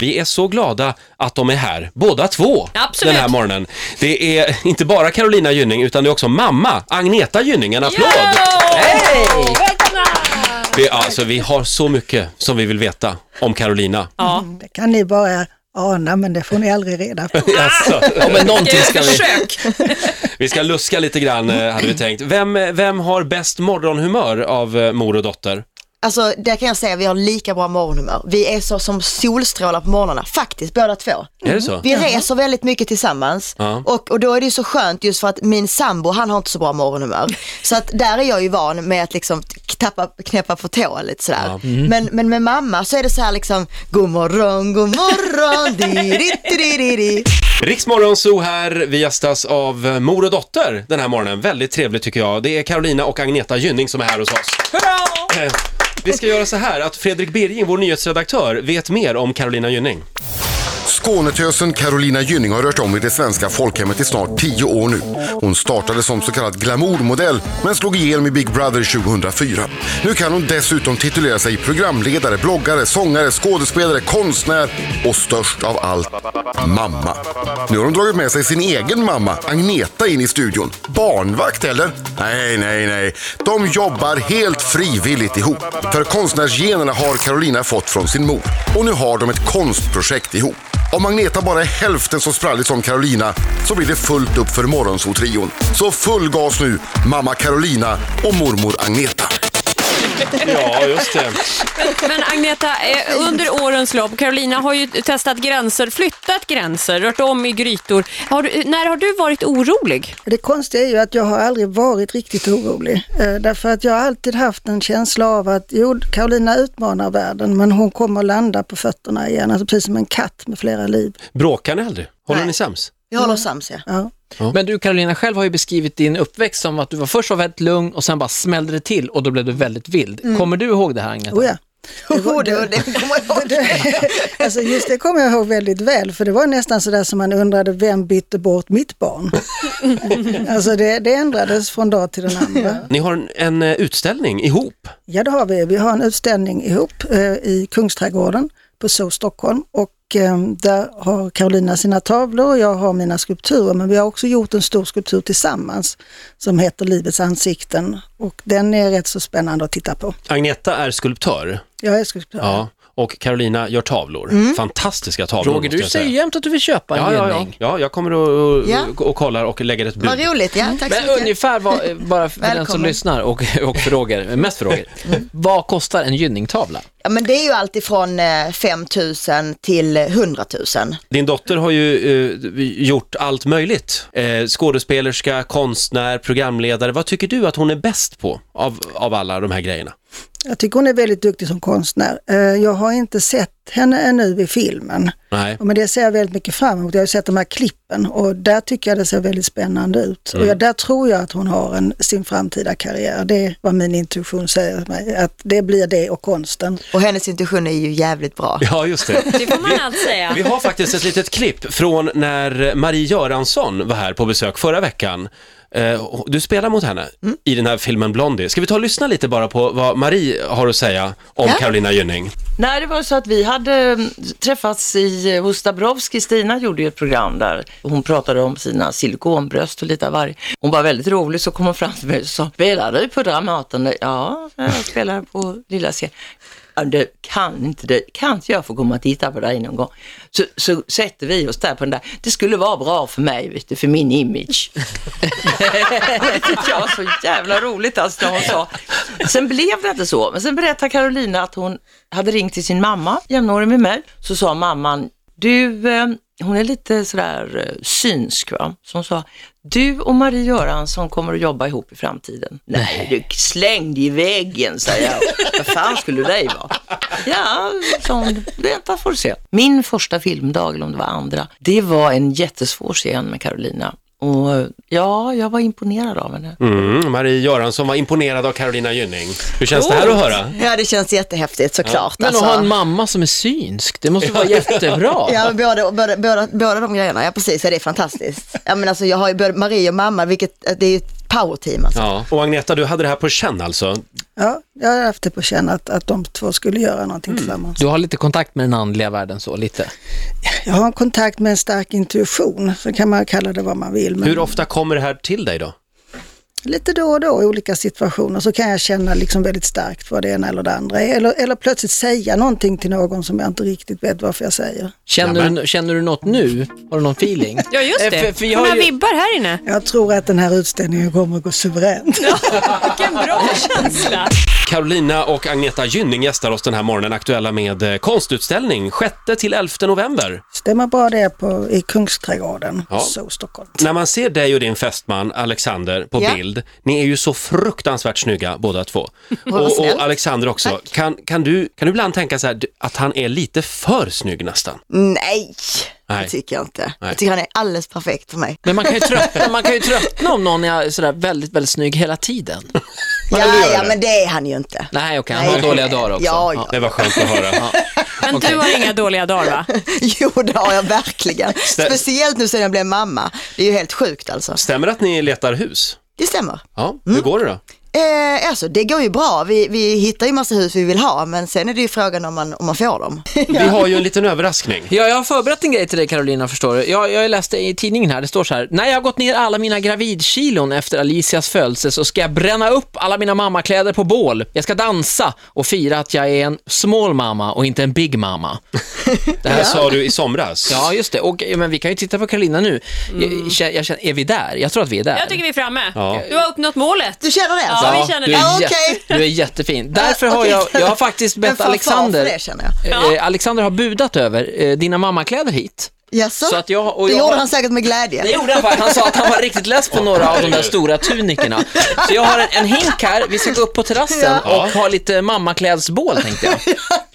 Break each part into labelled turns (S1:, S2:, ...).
S1: Vi är så glada att de är här, båda två,
S2: Absolut.
S1: den här morgonen. Det är inte bara Carolina Gynning, utan det är också mamma, Agneta Gynning. En applåd!
S2: Hej!
S1: Vi, alltså, vi har så mycket som vi vill veta om Carolina.
S3: Ah!
S2: Ja,
S4: Det kan ni bara ana, men det får ni aldrig reda på.
S1: Alltså,
S3: Ja, men någonting
S2: vilket
S3: ska vi...
S2: försök!
S1: vi ska luska lite grann, eh, hade vi tänkt. Vem, vem har bäst morgonhumör av eh, mor och dotter?
S5: Alltså där kan jag säga vi har lika bra morgonhumör. Vi är så som solstrålar på morgnarna, faktiskt båda två.
S1: Är det så?
S5: Vi reser väldigt mycket tillsammans
S1: Ja.
S5: och, och då är det ju så skönt just för att min sambo han har inte så bra morgonhumör. Så att där är jag ju van med att liksom tappa, knäppa på tå lite sådär.
S4: Mm.
S5: Men, men med mamma så är det så här liksom, god morgon, god morgon, di, di, di, di, di.
S1: Riksmorgon Zoo här, vi gästas av eh, mor och dotter den här morgonen. Väldigt trevligt tycker jag. Det är Carolina och Agneta Gynning som är här hos oss.
S2: Hurra!
S1: Eh, Vi ska göra så här att Fredrik Birging, vår nyhetsredaktör, vet mer om Carolina Gynning.
S6: Skånetösen Carolina Gynning har rört om i det svenska folkhemmet i snart tio år nu. Hon startade som så kallad glamourmodell men slog igenom i Big Brother 2004. Nu kan hon dessutom titulera sig programledare, bloggare, sångare, skådespelare, konstnär och störst av allt, mamma. Nu har hon dragit med sig sin egen mamma, Agneta, in i studion. Barnvakt eller? Nej, nej, nej. De jobbar helt frivilligt ihop. För konstnärsgenerna har Carolina fått från sin mor. Och nu har de ett konstprojekt ihop. Om Agneta bara är hälften så sprallig som Carolina så blir det fullt upp för Morgonzoo-trion. Så full gas nu, mamma Carolina och mormor Agneta.
S1: Ja, just det.
S2: Men Agneta, eh, under årens lopp, Carolina har ju testat gränser, flyttat gränser, rört om i grytor. Har du, när har du varit orolig?
S4: Det konstiga är ju att jag har aldrig varit riktigt orolig. eh, Därför att jag har alltid haft en känsla av att jo, Carolina utmanar världen men hon kommer landa på fötterna igen, alltså precis som en katt med flera liv.
S1: Bråkar ni aldrig? Håller
S5: Nej.
S1: ni sams?
S5: Vi håller oss sams ja.
S4: Ja.
S3: Men du Carolina själv har ju beskrivit din uppväxt som att du var först var väldigt lugn och sen bara smällde det till och då blev du väldigt vild. Kommer du ihåg det här Agneta?
S4: Oh ja. Det var-
S5: Mm. Oh, det, det kommer jag ihåg.
S4: Alltså just det kommer jag ihåg väldigt väl, för det var nästan sådär som man undrade vem bytte bort mitt barn? alltså det, det ändrades från dag till den andra.
S1: Ni har en, en eh, utställning ihop.
S4: Ja, det har vi. Vi har en utställning ihop eh, i Kungsträdgården på SO Stockholm och eh, där har Carolina sina tavlor och jag har mina skulpturer. Men vi har också gjort en stor skulptur tillsammans som heter Livets ansikten och den är rätt så spännande att titta på.
S1: Agneta är skulptör.
S4: Jag är skulptör.
S1: Ja. Och Carolina gör tavlor. Fantastiska tavlor
S3: Roger,
S1: måste
S3: du
S1: jag säga.
S3: säger jämt att du vill köpa en
S1: Ja, ja, ja.
S3: Gynning.
S1: ja, jag kommer och, och,
S5: Ja.
S1: och kollar och lägger ett bud.
S5: Vad roligt, ja tack så
S3: Men
S5: mycket.
S3: ungefär, vad, eh, bara för den som
S5: Välkommen. Mm.
S3: lyssnar och, och för Roger, mest för Roger, vad kostar en Gynning-tavla?
S5: Ja, men det är ju alltifrån 5 000 till eh, 100 000.
S1: Din dotter har ju eh, gjort allt möjligt. Eh, skådespelerska, konstnär, programledare. Vad tycker du att hon är bäst på av, av alla de här grejerna?
S4: Jag tycker hon är väldigt duktig som konstnär. Eh, Jag har inte sett henne ännu i filmen,
S1: Nej.
S4: och men det ser jag väldigt mycket fram emot. Jag har ju sett de här klippen och där tycker jag det ser väldigt spännande ut. Och jag, där tror jag att hon har en, sin framtida karriär. Det är vad min intuition säger mig, att det blir det och konsten.
S5: Och hennes intuition är ju jävligt bra.
S1: Ja, just det.
S2: Det får man allt säga.
S1: Vi har faktiskt ett litet klipp från när Marie Göransson var här på besök förra veckan. Eh, Du spelar mot henne i den här filmen Blondie. Ska vi ta och lyssna lite bara på vad Marie har att säga om
S5: Ja.
S1: Carolina Gynning?
S7: Nej, det var så att vi hade mm, träffats i, eh, hos Dabrowski. Stina gjorde ju ett program där. Hon pratade om sina silikonbröst och lite av varje. Hon var väldigt rolig, så kom hon fram till mig och sa, spelar du på Dramaten? Ja, jag spelar på Lilla scen. "Ja, Du kan inte det, kan inte jag få komma och titta på dig någon gång? Så, så sätter vi oss där på den där. Det skulle vara bra för mig, vet du, för min image. det tyckte jag var så jävla roligt alltså när hon sa. Sen blev det inte så, men sen berättade Carolina att hon hade ringt till sin mamma, jämnårig med mig, så sa mamman, du, eh, hon är lite sådär eh, synsk va, så hon sa, du och Marie Göransson kommer att jobba ihop i framtiden. Nej, du slängde i väggen, säger jag. Vad fan skulle det vara? Ja, sa hon, vänta får du se. Min första filmdag, eller om det var andra, det var en jättesvår scen med Carolina. Och ja, jag var imponerad av henne.
S1: Mm, Marie Göransson var imponerad av Carolina Gynning. Hur känns det här
S5: Oh.
S1: att höra?
S5: Ja, det känns jättehäftigt såklart.
S3: Men att ha en mamma som är synsk, det måste vara jättebra.
S5: Alltså- Ja, men båda, båda, båda, båda de grejerna, ja precis, ja, det är fantastiskt. Ja, men alltså, jag har ju både Marie och mamma, vilket eh, det är ju powerteam alltså.
S1: Ja. Och Agneta, du hade det här på känn alltså?
S4: Ja, jag har haft det på känn att, att de två skulle göra någonting tillsammans.
S3: Du har lite kontakt med den andliga världen så, lite.
S4: Jag har en kontakt med en stark intuition, så kan man kalla det vad man vill. Men
S1: Hur ofta kommer det här till dig då?
S4: Lite då och då i olika situationer så kan jag känna liksom väldigt starkt vad det ena eller det andra är. Eller, eller plötsligt säga någonting till någon som jag inte riktigt vet varför jag säger.
S3: Känner, du, känner du något nu? Har du någon feeling?
S2: Ja, just
S3: Eh,
S2: det.
S3: För, för jag
S2: Hon
S3: har
S2: har
S3: ju...
S2: vibbar här inne.
S4: Jag tror att den här utställningen kommer att gå suveränt.
S2: Vilken bra känsla.
S1: Carolina och Agneta Gynning gästar oss den här morgonen, aktuella med eh, konstutställning 6-11 november.
S4: Stämmer bara det på, i Kungsträdgården,
S1: Ja.
S4: så Stockholm.
S1: När man ser dig och din fästman Alexander på
S5: Ja.
S1: bild, ni är ju så fruktansvärt snygga båda två.
S5: vad
S1: Och, och
S5: snällt.
S1: Alexander också. Kan, kan, du, kan du ibland tänka så här, du- att han är lite för snygg nästan?
S5: Nej,
S1: Nej.
S5: det tycker jag inte.
S1: Nej.
S5: Jag tycker han är alldeles perfekt för mig.
S3: Men man kan, ju tröttna, man kan ju tröttna om någon är sådär väldigt, väldigt snygg hela tiden.
S5: Ja, ja, men det är han ju inte.
S3: Nej, okej, han
S5: Nej,
S3: har
S5: det-
S3: dåliga dagar också.
S5: Ja, ja.
S1: Det var skönt att höra.
S2: Men du har inga dåliga dagar va?
S5: Jo, det har jag verkligen. Speciellt nu sedan jag blev mamma. Det är ju helt sjukt alltså.
S1: Stämmer det att ni letar hus?
S5: Det stämmer.
S1: Ja, hur går det då?
S5: Eh, alltså det går ju bra, vi, vi hittar ju massa hus vi vill ha men sen är det ju frågan om man, om man får dem.
S1: Vi har ju en liten överraskning.
S3: Ja, jag har förberett en grej till dig Carolina förstår du. Jag, jag läste i tidningen här, det står så här. När jag har gått ner alla mina gravidkilon efter Alicias födelse så ska jag bränna upp alla mina mammakläder på bål. Jag ska dansa och fira att jag är en small mamma och inte en big mamma.
S1: Det här sa du i somras.
S3: Ja, just det. Och, ja, men vi kan ju titta på Carolina nu. Jag, jag, jag känner, är vi där? Jag tror att vi är där.
S2: Jag tycker vi är framme.
S1: Ja.
S2: Du har uppnått målet.
S5: Du känner det alltså?
S2: Ja, vi känner
S3: du,
S2: det.
S5: Ja,
S3: är
S5: okej.
S3: jätte, du är jättefin. Därför har
S5: okej.
S3: jag, jag har faktiskt
S5: En
S3: bett
S5: fanfar
S3: Alexander,
S5: för det känner jag.
S2: Ja.
S3: eh, Alexander har budat över eh, dina mammakläder hit.
S5: Jaså?
S3: Så att jag- och
S5: det
S3: jag-
S5: gjorde han säkert med glädje.
S3: Det gjorde han faktiskt. Han sa att han var riktigt less på några av de där stora tunikerna. Så jag har en, en hink här, vi ska gå upp på terrassen
S1: Ja.
S3: och ha lite mammaklädsbål tänkte jag.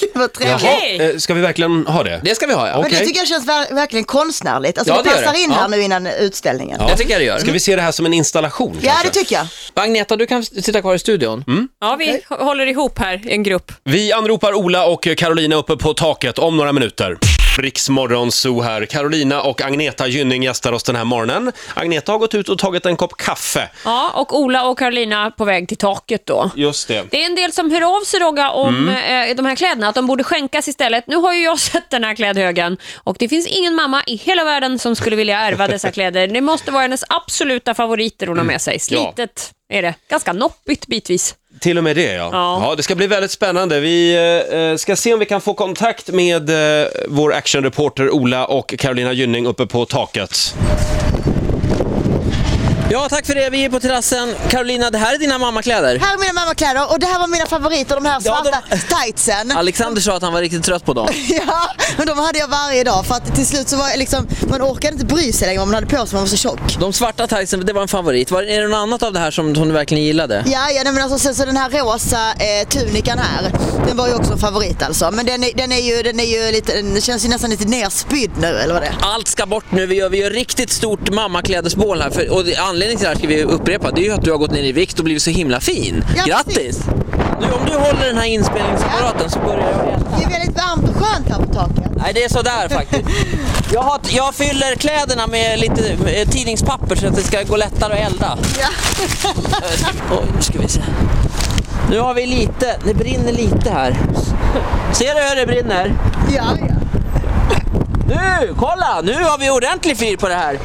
S5: Gud vad trevligt.
S1: Jaha,
S2: Okej.
S1: eh, ska vi verkligen ha det?
S3: Det ska vi ha ja.
S5: Men det tycker jag känns ver- verkligen konstnärligt. Alltså
S3: Ja,
S5: det
S3: det gör
S5: passar
S3: det.
S5: in
S3: Ja.
S5: här nu innan utställningen.
S3: Det tycker jag det gör.
S1: Ska vi se det här som en installation?
S5: Ja,
S1: kanske?
S5: det tycker jag.
S3: Agneta, du kan sitta kvar i studion.
S2: Ja, vi håller ihop här i en grupp.
S1: Vi anropar Ola och Carolina uppe på taket om några minuter. Riksmorgon Zoo här. Carolina och Agneta Gynning gästar oss den här morgonen. Agneta har gått ut och tagit en kopp kaffe.
S2: Ja, och Ola och Carolina på väg till taket då.
S1: Just det.
S2: Det är en del som hör av sig Rogga om eh, de här kläderna, att de borde skänkas istället. Nu har ju jag sett den här klädhögen och det finns ingen mamma i hela världen som skulle vilja ärva dessa kläder. Det måste vara hennes absoluta favoriter hon har med sig. Slitet är det. Ganska noppigt bitvis.
S1: Till och med det ja. ja.
S2: Ja.
S1: det ska bli väldigt spännande. Vi eh, ska se om vi kan få kontakt med eh, vår actionreporter Ola och Carolina Gynning uppe på taket.
S3: Ja, tack för det. Vi är på terrassen. Carolina, det här är dina mammakläder.
S5: Här är mina mammakläder och det här var mina favoriter, de här
S3: Ja, de-
S5: svarta tightsen.
S3: Alexander sa att han var riktigt trött på dem.
S5: Ja, men de hade jag varje dag för att till slut så var jag liksom, man orkade inte bry sig längre om man hade på sig, man var så tjock.
S3: De svarta tightsen, det var en favorit. Var, är det något annat av det här som hon verkligen gillade?
S5: Ja, ja nej, men alltså, sen så den här rosa eh, tunikan här, den var ju också en favorit alltså. Men den, är- den är ju, den är ju lite, den känns ju nästan lite nerspydd nu eller vad det är.
S3: Allt ska bort nu. Vi gör, vi gör riktigt stort mammaklädesbål här. För, och det- anledningen till det här ska vi upprepa. Det är ju att du har gått ner i vikt och blivit så himla fin.
S5: Ja,
S3: Grattis! Du, om du håller den här inspelningsapparaten så börjar jag igen.
S5: Det är väldigt varmt och skönt här på taket.
S3: Nej, det är sådär faktiskt. Jag, har, jag fyller kläderna med lite med tidningspapper så att det ska gå lättare att elda.
S5: Ja.
S3: Oj, nu ska vi se. Nu har vi lite, det brinner lite här. Ser du hur det brinner?
S5: Ja, ja.
S3: Nu, kolla! Nu har vi ordentlig fyr på det här.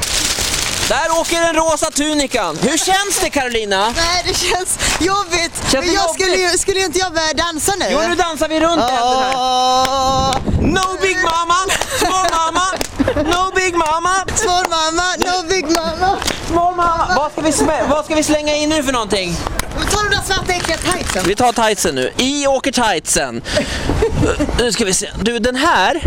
S3: Där åker den rosa tunikan. Hur känns det Carolina?
S5: Nej, det känns jobbigt.
S3: det
S5: men jag
S3: jobbigt?
S5: skulle ju, skulle ju inte jag börja dansa nu?
S3: Jo, nu dansar vi runt elden här.
S5: Åh,
S3: No big mama, small mamma, no big mama,
S5: Small mamma, no big mamma.
S3: small mamma. Vad ska vi, smä- vad ska vi slänga in nu för någonting?
S5: Men Ta de där svarta äckliga tightsen.
S3: Vi tar tightsen nu. I åker tightsen. Nu ska vi se. Du, den här.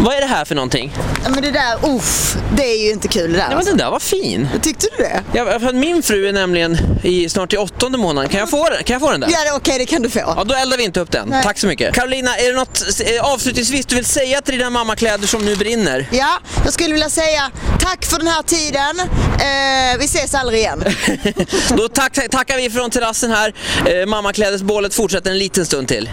S3: Vad är det här för någonting?
S5: Ja, Men det där, uff, det är ju inte kul det där.
S3: Ja, men den där var fin.
S5: Tyckte du det?
S3: Ja, för att min fru är nämligen i snart i åttonde månaden. Kan jag få den, kan jag få den där?
S5: Ja, det- okej, det kan du få.
S3: Ja, då eldar vi inte upp den.
S5: Nej.
S3: Tack så mycket. Carolina, är det något eh, avslutningsvis du vill säga till dina mammakläder som nu brinner?
S5: Ja, jag skulle vilja säga tack för den här tiden. Eh, vi ses aldrig igen.
S3: Då tack, tackar vi från terrassen här. Eh, mammaklädesbålet fortsätter en liten stund till.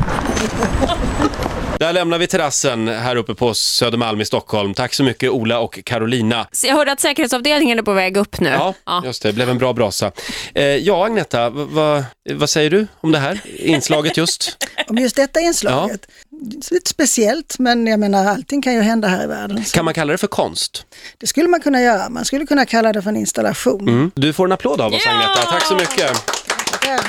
S1: Där lämnar vi terrassen här uppe på Södermalm i Stockholm. Tack så mycket Ola och Carolina.
S2: Så Jag hörde att säkerhetsavdelningen är på väg upp nu.
S1: Ja, just det. Det blev en bra brasa. Eh, ja, Agneta, v- va- vad säger du om det här inslaget just?
S4: Om just detta inslaget. Det är Lite speciellt, men jag menar allting kan ju hända här i världen. Så
S1: Kan man kalla det för konst?
S4: Det skulle man kunna
S1: Mm.
S4: göra. Man skulle kunna kalla det för en installation.
S1: Du får en applåd av oss, Agneta. Tack så mycket.